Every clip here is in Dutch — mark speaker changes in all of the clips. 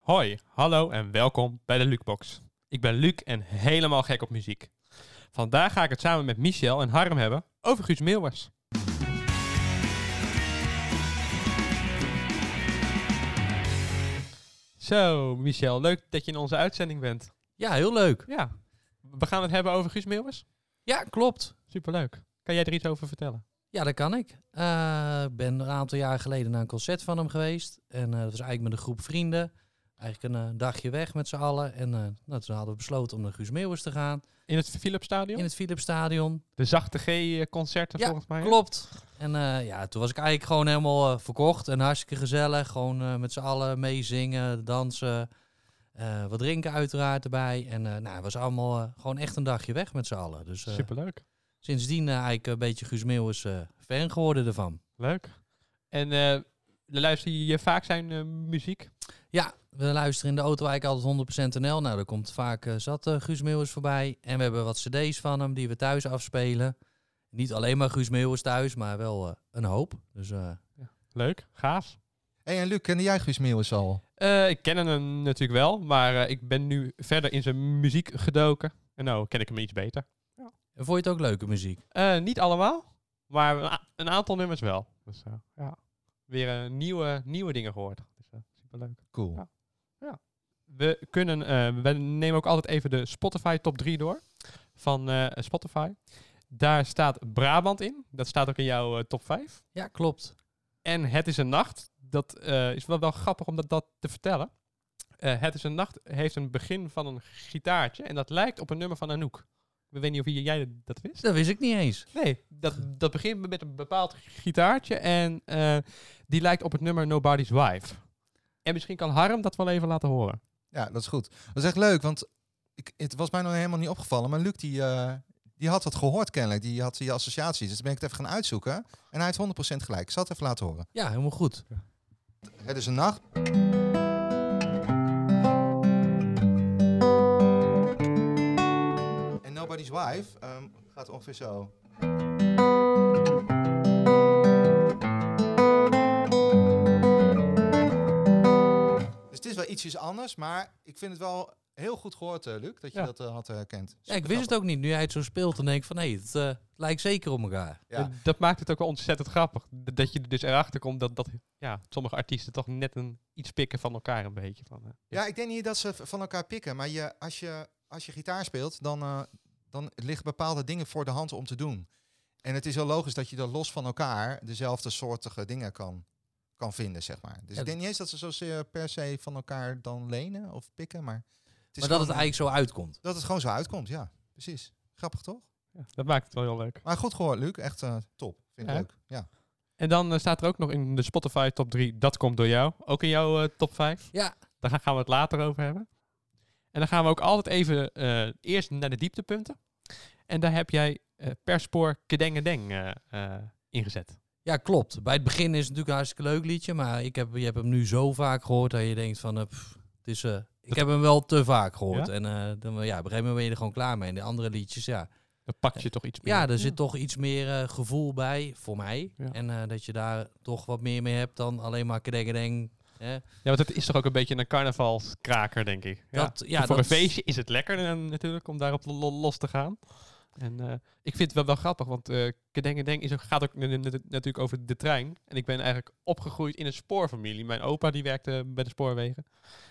Speaker 1: Hoi, hallo en welkom bij de Lukebox. Ik ben Luc en helemaal gek op muziek. Vandaag ga ik het samen met Michel en Harm hebben over Guus Meeuwers. Zo, Michel, leuk dat je in onze uitzending bent.
Speaker 2: Ja, heel leuk.
Speaker 1: Ja, we gaan het hebben over Guus Meeuwers.
Speaker 2: Ja, klopt.
Speaker 1: Superleuk. Kan jij er iets over vertellen?
Speaker 2: Ja, dat kan ik. Eh, Ik ben een aantal jaar geleden naar een concert van hem geweest. En eh, dat was eigenlijk met een groep vrienden. Eigenlijk een eh, dagje weg met z'n allen. En eh, nou, toen hadden we besloten om naar Guus Meeuwis te gaan.
Speaker 1: In het Philips Stadion?
Speaker 2: In het Philipsstadion.
Speaker 1: De zachte G-concerten
Speaker 2: Ja,
Speaker 1: volgens mij.
Speaker 2: Klopt. En eh, ja, toen was ik eigenlijk gewoon helemaal eh, verkocht. En hartstikke gezellig. Gewoon eh, met z'n allen meezingen, dansen. eh, wat drinken uiteraard erbij. En eh, nou, het was allemaal eh, gewoon echt een dagje weg met z'n allen. Dus eh,
Speaker 1: Superleuk.
Speaker 2: sindsdien eh, eigenlijk een beetje Guus Meeuwis eh, fan geworden ervan.
Speaker 1: Leuk. En eh, luister je vaak zijn eh, muziek?
Speaker 2: Ja, we luisteren in de auto eigenlijk altijd 100% NL. Nou, daar komt vaak eh, zat eh, Guus Meeuwis voorbij. En we hebben wat cd's van hem die we thuis afspelen. Niet alleen maar Guus Meeuwis thuis, maar wel eh, een hoop. Dus eh,
Speaker 1: Leuk, gaaf.
Speaker 3: Hé, en Luc, kende jij Guus Meeuwis al?
Speaker 1: Eh, ik ken hem natuurlijk wel, maar eh, ik ben nu verder in zijn muziek gedoken. En nou ken ik hem iets beter.
Speaker 2: en vond je het ook leuke muziek?
Speaker 1: Eh, niet allemaal, maar een, a- een aantal nummers wel. Dus eh, ja, weer eh, nieuwe, nieuwe dingen gehoord. Dus, eh, superleuk.
Speaker 3: Cool.
Speaker 1: Ja. We, kunnen, eh, we nemen ook altijd even de Spotify top 3 door van eh, Spotify. Daar staat Brabant in. Dat staat ook in jouw eh, top 5.
Speaker 2: Ja, klopt.
Speaker 1: En Het is een Nacht. Dat eh, is wel, wel grappig om dat, dat te vertellen. Eh, het is een Nacht heeft een begin van een gitaartje. En dat lijkt op een nummer van Anouk. Ik weet niet of jij dat wist.
Speaker 2: Dus Dat wist ik niet eens.
Speaker 1: Nee, dat, dat begint met een bepaald gitaartje. En eh, die lijkt op het nummer Nobody's Wife. En misschien kan Harm dat wel even laten horen.
Speaker 3: Ja, dat is goed. Dat is echt leuk, want ik, het was mij nog helemaal niet opgevallen. Maar Luc, die, eh, die had dat gehoord kennelijk. Die had die associaties. Dus ben ik het even gaan uitzoeken. En hij heeft 100% gelijk. Ik zal het even laten horen.
Speaker 2: Ja, helemaal goed.
Speaker 3: Het is een nacht. En Nobody's Wife ehm, gaat ongeveer zo. Dus het is wel ietsjes anders, maar ik vind het wel heel goed gehoord, eh, Luc, dat je
Speaker 1: Ja.
Speaker 3: dat eh, had herkend.
Speaker 2: Ja, ik wist het ook niet. Nu jij het zo speelt, dan denk ik van hé, het eh, lijkt zeker op elkaar.
Speaker 3: Ja.
Speaker 1: Dat, dat maakt het ook wel ontzettend grappig. D- Dat je er dus erachter komt dat, dat ja, sommige artiesten toch net een, iets pikken van elkaar een beetje. Van, eh,
Speaker 3: Ja, ik denk niet dat ze v- van elkaar pikken. Maar je, als, je, als je gitaar speelt, dan, eh, dan liggen bepaalde dingen voor de hand om te doen. En het is heel logisch dat je er los van elkaar dezelfde soortige dingen kan, kan vinden, zeg maar. Dus
Speaker 2: Ja,
Speaker 3: ik denk niet eens dat ze zozeer per se van elkaar dan lenen of pikken, maar... Het is
Speaker 2: Maar dat het
Speaker 3: gewoon-
Speaker 2: eigenlijk zo uitkomt.
Speaker 3: Dat het gewoon zo uitkomt, ja. Precies. Grappig, toch?
Speaker 1: ja, dat maakt het wel heel leuk.
Speaker 3: Maar goed gehoord, Luc. Echt eh, top. Vind ik
Speaker 1: Ja.
Speaker 3: leuk. Ja.
Speaker 1: En dan eh, staat er ook nog in de Spotify top 3, dat komt door jou. Ook in jouw eh, top 5.
Speaker 2: Ja,
Speaker 1: Daar ga- gaan we het later over hebben. En dan gaan we ook altijd even eh, eerst naar de dieptepunten. En daar heb jij eh, per spoor Kedengedeng eh eh, ingezet.
Speaker 2: Ja, klopt. Bij het begin is het natuurlijk een hartstikke leuk liedje, maar ik heb, je hebt hem nu zo vaak gehoord dat je denkt van, eh, pff, het is, eh, ik
Speaker 1: Dat-
Speaker 2: heb hem wel te vaak gehoord.
Speaker 1: Ja?
Speaker 2: En eh, dan, ja, op een gegeven moment ben je er gewoon klaar mee. En de andere liedjes, ja,
Speaker 1: Dan pak je toch iets meer.
Speaker 2: Eh, ja, er zit toch iets meer eh, gevoel bij, voor mij.
Speaker 1: Ja.
Speaker 2: En eh, dat je daar toch wat meer mee hebt dan alleen maar kedengedeng. hè.
Speaker 1: Ja, want het is toch ook een beetje een carnavalskraker, denk ik. Ja.
Speaker 2: Dat- ja,
Speaker 1: voor
Speaker 2: dat-
Speaker 1: een feestje is het lekker eh, natuurlijk om daarop lo- lo- los te gaan. En eh, ik vind het wel, wel grappig, want eh Kedengedeng is ook, gaat ook n- n- n- natuurlijk over de trein. En ik ben eigenlijk opgegroeid in een spoorfamilie. Mijn opa die werkte bij de spoorwegen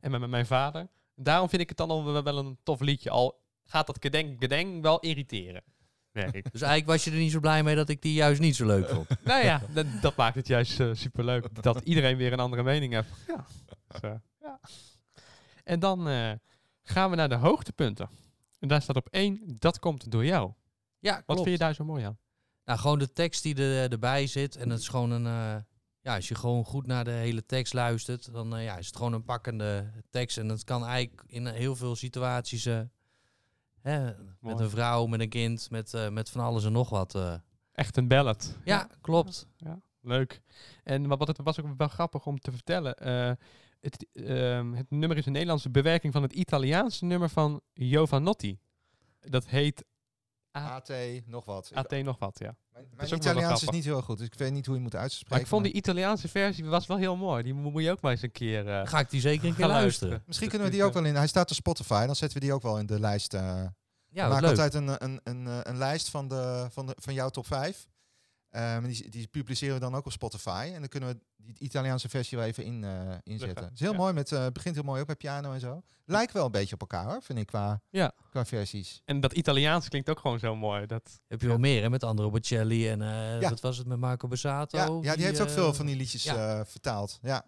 Speaker 1: en mijn, mijn vader. Daarom vind ik het dan al wel- wel een tof liedje. Al gaat dat Kedengedeng wel irriteren, merk ik.
Speaker 2: Dus eigenlijk was je er niet zo blij mee dat ik die juist niet zo leuk vond.
Speaker 1: nou ja, dat, dat maakt het juist super superleuk. Dat iedereen weer een andere mening heeft. Ja. ja. En dan eh, gaan we naar de hoogtepunten. En daar staat op één, dat komt door jou. Wat
Speaker 2: Ja, klopt.
Speaker 1: vind je daar zo mooi aan?
Speaker 2: Nou, gewoon de tekst die er, eh, erbij zit. En het is gewoon een. eh, ja, als je gewoon goed naar de hele tekst luistert, dan eh, ja, is het gewoon een pakkende tekst. En dat kan eigenlijk in eh, heel veel situaties. eh, hè, met
Speaker 1: Mooi.
Speaker 2: een vrouw, met een kind, met, eh, met van alles en nog wat. eh.
Speaker 1: Echt een ballad.
Speaker 2: Ja, klopt.
Speaker 1: Leuk. En wat, wat het was ook wel grappig om te vertellen. eh, het, ehm, het nummer is een Nederlandse bewerking van het Italiaanse nummer van Giovanotti. Dat heet A-
Speaker 3: AT, nog wat. Ik-
Speaker 1: AT nog wat, ja.
Speaker 3: mijn mijn
Speaker 1: ook wel
Speaker 3: Italiaans is
Speaker 1: grappig.
Speaker 3: niet heel goed, dus ik weet niet hoe je moet uitspreken.
Speaker 1: Maar ik vond die
Speaker 3: maar-
Speaker 1: Italiaanse versie was wel heel mooi. Die mo- moet je ook maar eens een keer eh,
Speaker 2: Ga ik die zeker een keer
Speaker 1: gaan
Speaker 2: luisteren.
Speaker 3: Misschien
Speaker 1: Dat
Speaker 3: kunnen we
Speaker 1: is,
Speaker 3: die ook
Speaker 1: eh,
Speaker 3: wel in. Hij staat op Spotify, dan zetten we die ook wel in de lijst. eh
Speaker 2: Ja, wat
Speaker 3: maak
Speaker 2: leuk.
Speaker 3: altijd een, eh, een, een, eh, een lijst van, de, van, de, van jouw top 5. Ehm, die, die publiceren we dan ook op Spotify. En dan kunnen we die Italiaanse versie wel even in, eh, inzetten. Het is heel
Speaker 1: ja.
Speaker 3: mooi, met, eh, begint heel mooi ook met piano en zo. Lijkt wel een beetje op elkaar, hoor, vind ik, qua,
Speaker 1: Ja.
Speaker 3: qua versies.
Speaker 1: En dat Italiaans klinkt ook gewoon zo mooi. Dat,
Speaker 2: Heb je wel meer, hè? Met Andro Bocelli en eh,
Speaker 3: Ja.
Speaker 2: wat was het met Marco Bazzato?
Speaker 3: Ja, ja, die heeft ook
Speaker 2: eh,
Speaker 3: veel van die liedjes
Speaker 2: ja.
Speaker 3: eh, vertaald. Ja.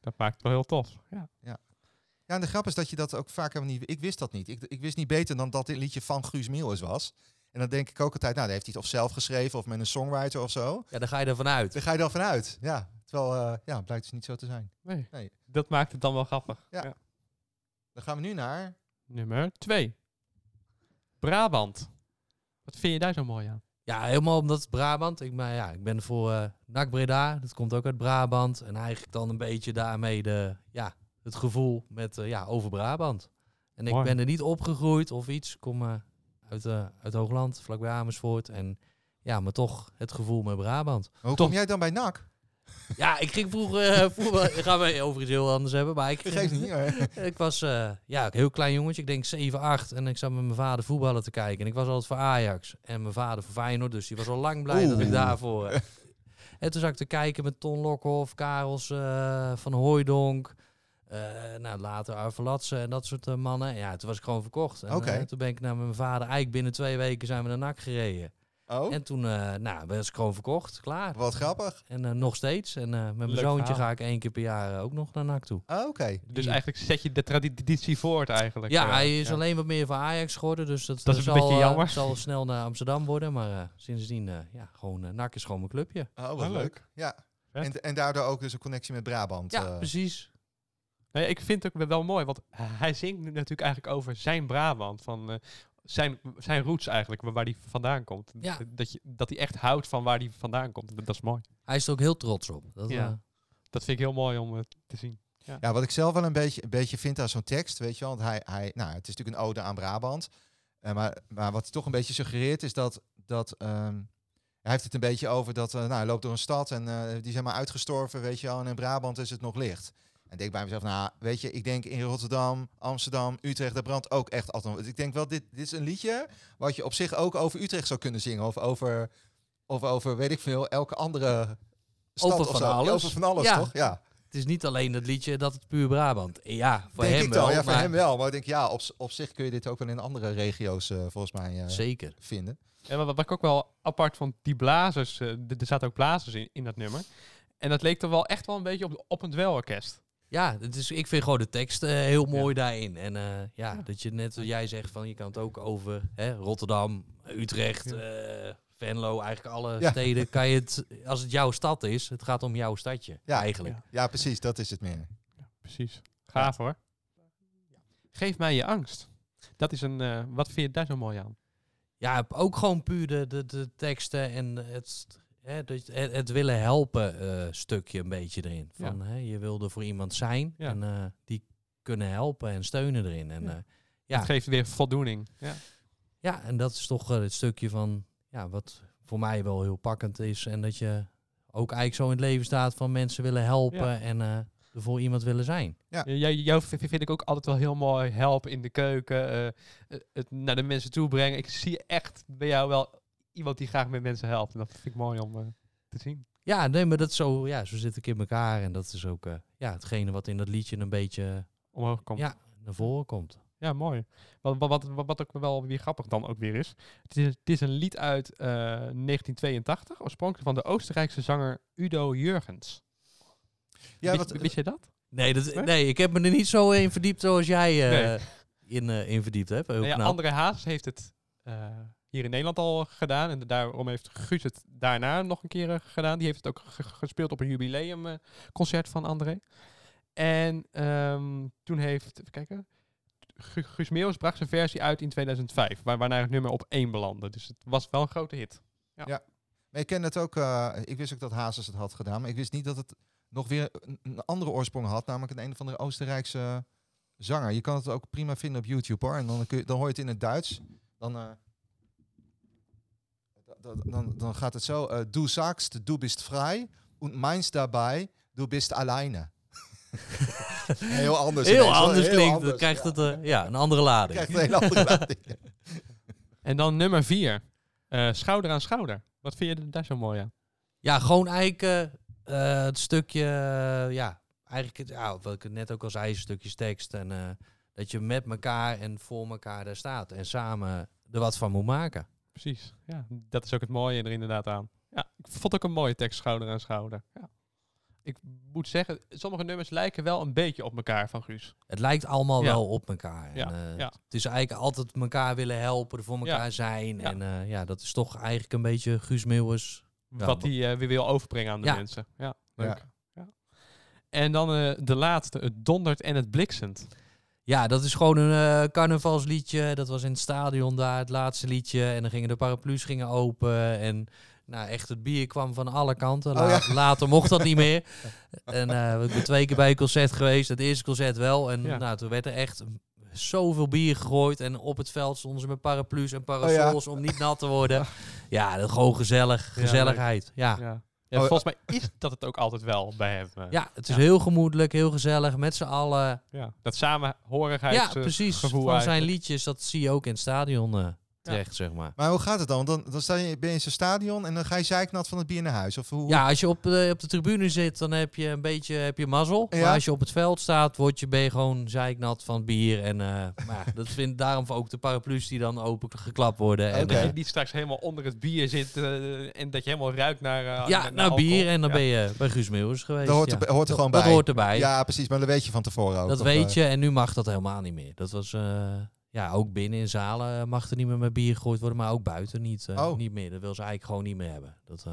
Speaker 1: dat maakt het wel heel tof. Ja.
Speaker 3: ja, en de grap is dat je dat ook vaak helemaal niet... Ik wist dat niet. Ik, ik wist niet beter dan dat dit liedje van Guus Meeuwis was. En dan denk ik ook altijd, nou, dat heeft hij het of zelf geschreven... of met een songwriter of zo.
Speaker 2: Ja, daar ga je ervan uit.
Speaker 3: Daar ga je dan vanuit. Ja, terwijl eh, ja, blijkt dus niet zo te zijn.
Speaker 1: Nee.
Speaker 3: Nee.
Speaker 1: Dat maakt het dan wel grappig.
Speaker 3: Ja. Dan gaan we nu naar
Speaker 1: Nummer 2. Brabant. Wat vind je daar zo mooi aan?
Speaker 2: Ja, helemaal omdat het Brabant. Ik, maar ja, ik ben voor eh NAC Breda. Dat komt ook uit Brabant. En eigenlijk dan een beetje daarmee de, ja, het gevoel met, eh, ja, over Brabant. En ik
Speaker 1: Mooi.
Speaker 2: ben er niet opgegroeid of iets. Ik kom eh, uit, eh, uit Hoogland, vlakbij Amersfoort. En ja, maar toch het gevoel met Brabant.
Speaker 3: Maar Hoe
Speaker 1: Toch-
Speaker 3: kom jij dan bij NAC?
Speaker 2: Ja, ik ging vroeger eh, voetbal. Gaan we over iets heel anders hebben. Maar ik,
Speaker 3: Geeft niet. hoor.
Speaker 2: ik was eh, ja, een heel klein jongetje, ik denk 7, 8. En ik zat met mijn vader voetballen te kijken. En ik was altijd voor Ajax. En mijn vader voor Feyenoord. Dus die was al lang blij dat ik
Speaker 3: Oeh.
Speaker 2: daarvoor... eh. En toen zat ik te kijken met Ton Lokhoff, Karels eh, van Hooijdonk. eh, nou, later Arvelatse en dat soort eh, mannen. En Ja, toen was ik gewoon verkocht. En,
Speaker 3: Oké.
Speaker 2: eh, toen ben ik naar mijn vader. Eigenlijk binnen twee weken zijn we naar NAC gereden.
Speaker 3: Oh,
Speaker 2: En toen eh nou, was ik gewoon verkocht. Klaar.
Speaker 3: wat grappig.
Speaker 2: En eh, nog steeds. En eh, met mijn
Speaker 1: Leuk
Speaker 2: zoontje
Speaker 1: verhaal.
Speaker 2: ga ik één keer per jaar eh, ook nog naar NAC toe.
Speaker 3: Oh, Oké.
Speaker 1: Dus
Speaker 2: Ja.
Speaker 1: eigenlijk zet je de traditie voort eigenlijk.
Speaker 2: Ja,
Speaker 1: eh,
Speaker 2: hij is
Speaker 1: ja.
Speaker 2: alleen wat meer van Ajax geworden, dus dat,
Speaker 1: Dat
Speaker 2: eh,
Speaker 1: is een
Speaker 2: zal,
Speaker 1: beetje
Speaker 2: eh,
Speaker 1: jammer.
Speaker 2: zal snel naar Amsterdam worden. Maar eh, sindsdien, eh, ja, gewoon eh, NAC is gewoon mijn clubje.
Speaker 3: Oh, wat
Speaker 1: Ah, leuk.
Speaker 3: leuk. Ja.
Speaker 1: Vet.
Speaker 3: En, en daardoor ook dus een connectie met Brabant.
Speaker 2: ja,
Speaker 3: eh.
Speaker 2: precies.
Speaker 1: Nee, ik vind het ook wel mooi, want hij zingt nu natuurlijk eigenlijk over zijn Brabant. Van, eh, zijn, zijn roots eigenlijk, waar waar hij vandaan komt.
Speaker 2: Ja.
Speaker 1: Dat, je, dat hij echt houdt van waar hij vandaan komt. Dat, dat is mooi.
Speaker 2: Hij is er ook heel trots op. Dat,
Speaker 1: Ja.
Speaker 2: eh,
Speaker 1: Dat vind ik heel mooi om eh, te zien.
Speaker 3: ja, wat ik zelf wel een beetje, een beetje vind aan zo'n tekst, weet je wel. Want hij, hij, nou, het is natuurlijk een ode aan Brabant. Eh, maar, maar wat hij toch een beetje suggereert is dat... dat ehm, hij heeft het een beetje over dat, eh, nou, hij loopt door een stad en eh, die zijn maar uitgestorven, weet je wel. En in Brabant is het nog licht. En ik denk bij mezelf, nou, weet je, ik denk in Rotterdam, Amsterdam, Utrecht, daar brandt ook echt altijd. nog- Dus ik denk wel, dit, dit is een liedje wat je op zich ook over Utrecht zou kunnen zingen. Of over, of over weet ik veel, elke andere stad
Speaker 2: Over
Speaker 3: of
Speaker 2: van
Speaker 3: zo.
Speaker 2: alles.
Speaker 3: Over van alles,
Speaker 2: Ja.
Speaker 3: toch? Ja,
Speaker 2: Het is niet alleen dat liedje dat het puur Brabant. Eh, Ja, voor
Speaker 3: denk
Speaker 2: hem
Speaker 3: ik dan.
Speaker 2: wel.
Speaker 3: ja, voor
Speaker 2: maar-
Speaker 3: hem wel. Maar ik denk, ja, op, z- op zich kun je dit ook wel in andere regio's eh, volgens mij eh,
Speaker 2: Zeker.
Speaker 3: vinden.
Speaker 1: En wat, wat ik ook wel apart vond, die blazers, eh, d- er zaten ook blazers in, in dat nummer. En dat leek er wel echt wel een beetje op, op een dwelorkest.
Speaker 2: Ja, het is, ik vind gewoon de tekst eh, heel mooi daarin. En eh, ja, dat je net wat jij zegt van je kan het ook over hè, Rotterdam, Utrecht, eh, Venlo, eigenlijk alle
Speaker 3: Ja.
Speaker 2: steden. Kan je het, als het jouw stad is, het gaat om jouw stadje
Speaker 3: Ja.
Speaker 2: eigenlijk.
Speaker 1: Ja.
Speaker 3: Ja, precies, dat is het meer.
Speaker 1: Precies. Gaaf hoor. Geef mij je angst. Dat is een, eh, wat vind je daar zo mooi aan?
Speaker 2: Ja, ook gewoon puur de, de, de teksten en het, hè, dat- het, het willen helpen eh, stukje een beetje erin.
Speaker 1: Ja.
Speaker 2: Van, hè, je wilde voor iemand zijn
Speaker 1: Ja.
Speaker 2: en eh, die kunnen helpen en steunen erin. En,
Speaker 1: Ja.
Speaker 2: eh,
Speaker 1: Ja.
Speaker 2: Ja.
Speaker 1: Het geeft weer voldoening. Ja.
Speaker 2: Ja, en dat is toch eh, het stukje van, ja, wat voor mij wel heel pakkend is. En dat je ook eigenlijk zo in het leven staat van mensen willen helpen
Speaker 1: Ja.
Speaker 2: en eh, er voor iemand willen zijn.
Speaker 1: Ja, Jou, jou v- vind ik ook altijd wel heel mooi. Helpen in de keuken. eh, eh, het naar de mensen toe brengen. Ik zie echt bij jou wel iemand die graag met mensen helpt. En dat vind ik mooi om eh, te zien.
Speaker 2: Ja, nee, maar dat is zo, ja, zo zit ik in elkaar. En dat is ook eh, ja, hetgene wat in dat liedje een beetje
Speaker 1: Omhoog komt. Ja,
Speaker 2: ja, naar voren komt.
Speaker 1: mooi. Wat, wat, wat, wat ook wel weer grappig dan ook weer is. Het is, het is een lied uit eh, 1982. Oorspronkelijk van de Oostenrijkse zanger Udo Jurgens.
Speaker 3: Ja,
Speaker 1: Wist-
Speaker 3: wat, eh,
Speaker 1: wist je dat?
Speaker 2: Nee, dat,
Speaker 1: Nee?
Speaker 2: nee, ik heb me er niet zo in verdiept zoals jij eh,
Speaker 1: Nee.
Speaker 2: in, eh, in verdiept hebt. Heel
Speaker 1: Nou ja,
Speaker 2: knap.
Speaker 1: André Haas heeft het eh, hier in Nederland al gedaan. En daarom heeft Guus het daarna nog een keer eh, gedaan. Die heeft het ook ge- gespeeld op een jubileumconcert van André. En ehm, toen heeft, even kijken, Gu- Guus Meeuwis bracht zijn versie uit in 2005. Waar, waarna het nummer op één belandde. Dus het was wel een grote hit.
Speaker 3: Maar ik ken het ook, eh, ik wist ook dat Hazes het had gedaan, maar ik wist niet dat het nog weer een, een andere oorsprong had, namelijk een een of andere Oostenrijkse zanger. Je kan het ook prima vinden op YouTube hoor, en dan, kun je, dan hoor je het in het Duits. Dan, eh, dat- dan, dan gaat het zo. eh, du sagst, du bist frei. Und meins daarbij, du bist alleine. heel anders.
Speaker 2: Heel
Speaker 3: ineens, hoor.
Speaker 2: anders
Speaker 3: Heel
Speaker 2: klinkt.
Speaker 3: anders.
Speaker 2: Dan krijgt
Speaker 3: Ja,
Speaker 2: het eh, ja, een andere lading.
Speaker 3: krijgt een hele andere lading.
Speaker 1: En dan nummer vier. eh, schouder aan schouder. Wat vind je daar zo mooi aan?
Speaker 2: Ja, gewoon eigenlijk eh, eh, het stukje, eh, ja, eigenlijk het, ja, wat ik het net ook al zei, stukjes tekst. En eh, dat je met elkaar en voor elkaar daar staat en samen er wat van moet maken.
Speaker 1: Precies. Ja, dat is ook het mooie er inderdaad aan. Ja, ik vond ook een mooie tekst, schouder aan schouder. Ja. Ik moet zeggen, sommige nummers lijken wel een beetje op elkaar van Guus.
Speaker 2: Het lijkt allemaal
Speaker 1: Ja.
Speaker 2: wel op elkaar.
Speaker 1: Ja,
Speaker 2: En, eh,
Speaker 1: ja.
Speaker 2: Het is eigenlijk altijd elkaar willen helpen, er voor elkaar zijn.
Speaker 1: Ja.
Speaker 2: En eh, ja, dat is toch eigenlijk een beetje Guus Meeuwers. Ja,
Speaker 1: wat
Speaker 2: wa-
Speaker 1: hij eh, weer wil overbrengen aan de
Speaker 2: Ja.
Speaker 1: mensen. Ja, leuk. Ja. En dan eh, de laatste, het dondert en het bliksemt.
Speaker 2: Ja, dat is gewoon een eh, carnavalsliedje. Dat was in het stadion daar, het laatste liedje. En dan gingen de paraplu's gingen open. En nou, echt, het bier kwam van alle kanten.
Speaker 3: Oh,
Speaker 2: La- Later mocht dat niet meer. En eh, ik ben twee keer bij een concert geweest. Het eerste concert wel. En
Speaker 1: Ja.
Speaker 2: nou, toen werd er echt zoveel bier gegooid. En op het veld stonden ze met paraplu's
Speaker 1: Oh,
Speaker 2: en parasols om niet nat te worden. Ja, dat gewoon gezellig.
Speaker 1: Ja,
Speaker 2: Gezelligheid. Ja.
Speaker 1: Ja. Ja.
Speaker 3: Oh,
Speaker 1: volgens mij is dat het ook altijd wel bij hem. eh.
Speaker 2: Ja, het is
Speaker 1: Ja.
Speaker 2: heel gemoedelijk, heel gezellig, met z'n allen.
Speaker 1: Ja. Dat samenhorigheid.
Speaker 2: Ja,
Speaker 1: eh,
Speaker 2: precies.
Speaker 1: gevoel
Speaker 2: Van zijn
Speaker 1: eigenlijk.
Speaker 2: liedjes, dat zie je ook in het stadion eh, terecht, zeg maar.
Speaker 3: Maar hoe gaat het dan? Want Dan, dan sta je, ben je in zo'n stadion en dan ga je zeiknat van het bier naar huis. Of hoe?
Speaker 2: Ja, als je op, eh, op de tribune zit, dan heb je een beetje heb je mazzel.
Speaker 3: Ja.
Speaker 2: Maar als je op het veld staat, word je, ben je gewoon zeiknat van bier. En eh, maar ja, dat vind daarom ook de paraplu's die dan open geklapt worden. En,
Speaker 3: Oké.
Speaker 1: Dat
Speaker 2: eh,
Speaker 1: je niet straks helemaal onder het bier zit eh, en dat je helemaal ruikt naar eh,
Speaker 2: ja,
Speaker 1: naar
Speaker 2: naar
Speaker 1: alcohol.
Speaker 2: bier en dan
Speaker 1: Ja.
Speaker 2: ben je bij Guus Meeuwis geweest.
Speaker 3: dat hoort,
Speaker 2: ja.
Speaker 3: er, hoort er gewoon
Speaker 2: dat
Speaker 3: bij.
Speaker 2: hoort erbij.
Speaker 3: Ja, precies. Maar dat weet je van tevoren ook.
Speaker 2: dat
Speaker 3: Of,
Speaker 2: weet
Speaker 3: eh,
Speaker 2: je. En nu mag dat helemaal niet meer. Dat was... eh, ja, ook binnen in zalen eh, mag er niet meer met bier gegooid worden, maar ook buiten niet, eh,
Speaker 3: Oh.
Speaker 2: niet meer. Dat wil ze eigenlijk gewoon niet meer hebben. Dat,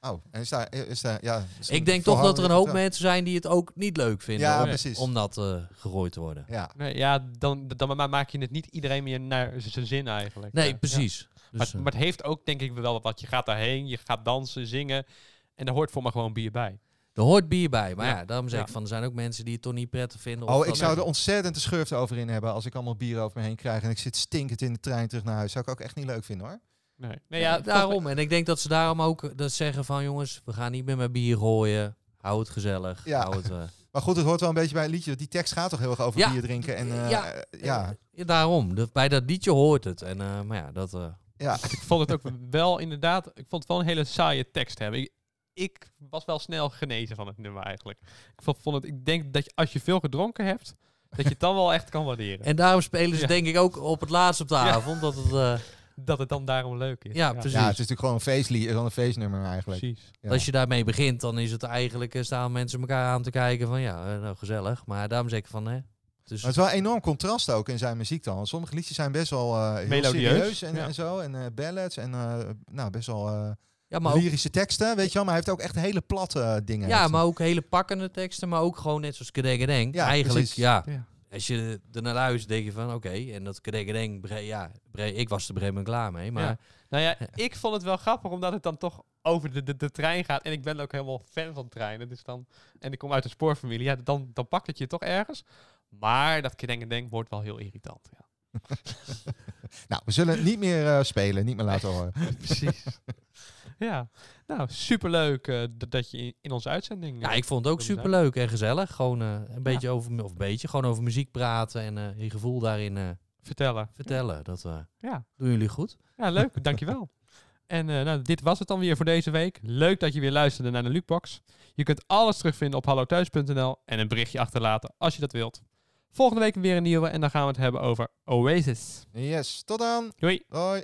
Speaker 2: eh,
Speaker 3: Oh, en is daar, is daar, ja, is
Speaker 2: ik
Speaker 3: een
Speaker 2: denk toch dat er een hoop
Speaker 3: volhouden-
Speaker 2: mensen zijn die het ook niet leuk vinden
Speaker 3: Ja,
Speaker 2: om,
Speaker 3: precies.
Speaker 2: om dat eh, gegooid te worden.
Speaker 3: Ja,
Speaker 1: Nee, ja, dan, dan ma- maak je het niet iedereen meer naar z- zijn zin eigenlijk.
Speaker 2: Nee,
Speaker 1: Ja.
Speaker 2: precies. Dus,
Speaker 1: maar,
Speaker 2: eh,
Speaker 1: maar het heeft ook denk ik wel wat. Je gaat daarheen, je gaat dansen, zingen. En daar hoort voor me gewoon bier bij.
Speaker 2: er hoort bier bij. Maar
Speaker 1: Ja.
Speaker 2: ja, daarom zeg ik
Speaker 1: Ja.
Speaker 2: van, er zijn ook mensen die het toch niet prettig vinden. of
Speaker 3: Oh, ik
Speaker 2: dat-
Speaker 3: zou er ontzettend de schurft over in hebben als ik allemaal bier over me heen krijg en ik zit stinkend in de trein terug naar huis. Zou ik ook echt niet leuk vinden hoor.
Speaker 1: Nee, nee
Speaker 2: Nee,
Speaker 1: ja,
Speaker 2: ja,
Speaker 1: volgens mij-
Speaker 2: daarom. En ik denk dat ze daarom ook eh, dat zeggen van, jongens, we gaan niet meer met bier gooien. Hou het gezellig.
Speaker 3: Ja.
Speaker 2: Hou het, eh,
Speaker 3: Maar goed, het hoort wel een beetje bij het liedje. want Die tekst gaat toch heel erg over
Speaker 2: Ja.
Speaker 3: bier drinken en eh,
Speaker 2: Ja.
Speaker 3: eh, ja,
Speaker 2: eh, daarom. Dat- bij dat liedje hoort het. En, eh, maar ja, dat... eh,
Speaker 3: ja,
Speaker 1: ik vond het ook wel inderdaad. Ik vond het wel een hele saaie tekst hebben. Ik, ik was wel snel genezen van het nummer eigenlijk. Ik vond, vond het. Ik denk dat je, als je veel gedronken hebt, dat je het dan wel echt kan waarderen.
Speaker 2: en daarom spelen ze
Speaker 1: Ja.
Speaker 2: denk ik ook op het laatst op de
Speaker 1: Ja.
Speaker 2: avond. Dat het, eh,
Speaker 1: Dat het dan daarom leuk is.
Speaker 2: ja, precies.
Speaker 3: ja, het is natuurlijk gewoon een feestlied, gewoon een feestnummer eigenlijk.
Speaker 1: precies.
Speaker 3: Ja.
Speaker 2: Als je daarmee begint, dan is het eigenlijk, eh, staan mensen elkaar aan te kijken van, ja, eh, nou gezellig. Maar daarom zeg ik van, hè, dus
Speaker 3: Maar het is wel een enorm contrast ook in zijn muziek dan. want Sommige liedjes zijn best wel eh, heel
Speaker 1: Melodieus,
Speaker 3: serieus en,
Speaker 1: ja.
Speaker 3: en zo en eh, ballads en eh, nou best wel eh,
Speaker 2: ja, maar ook
Speaker 3: lyrische teksten, weet je wel. Maar hij heeft ook echt hele platte eh, dingen.
Speaker 2: Ja,
Speaker 3: heeft hij.
Speaker 2: maar ook hele pakkende teksten, maar ook gewoon net zoals Kedegedeng.
Speaker 3: Ja,
Speaker 2: Ja, Eigenlijk,
Speaker 3: precies.
Speaker 2: ja.
Speaker 1: Ja.
Speaker 2: Als je er naar luistert, denk je van, oké. en dat Kedegedeng, bre- ja, bre- ik was er op een gegeven moment klaar mee. Maar
Speaker 1: Ja. Nou ja, ik vond het wel grappig omdat het dan toch over de, de, de trein gaat. En ik ben ook helemaal fan van treinen. Dus dan, en ik kom uit een spoorfamilie. Ja, dan, dan pakt het je toch ergens. Maar dat denk en denk wordt wel heel irritant. Ja.
Speaker 3: Nou, we zullen het niet meer eh, spelen, niet meer laten horen.
Speaker 1: Precies. ja. Nou, superleuk eh, d- dat je in, in onze uitzending...
Speaker 2: ja,
Speaker 1: eh,
Speaker 2: ik vond het ook
Speaker 1: wilde zijn.
Speaker 2: superleuk en gezellig. Gewoon eh, een beetje over, mu- of een beetje, gewoon over muziek praten en eh, je gevoel daarin eh,
Speaker 1: Vertellen.
Speaker 2: vertellen. Dat eh,
Speaker 1: Ja.
Speaker 2: doen jullie goed.
Speaker 1: Ja, leuk. Dankjewel. En eh, nou, dit was het dan weer voor deze week. Leuk dat je weer luisterde naar de Lukebox. Je kunt alles terugvinden op hallothuis.nl en een berichtje achterlaten als je dat wilt. Volgende week weer een nieuwe en dan gaan we het hebben over Oasis.
Speaker 3: Yes, tot dan.
Speaker 1: Doei!
Speaker 3: Hoi.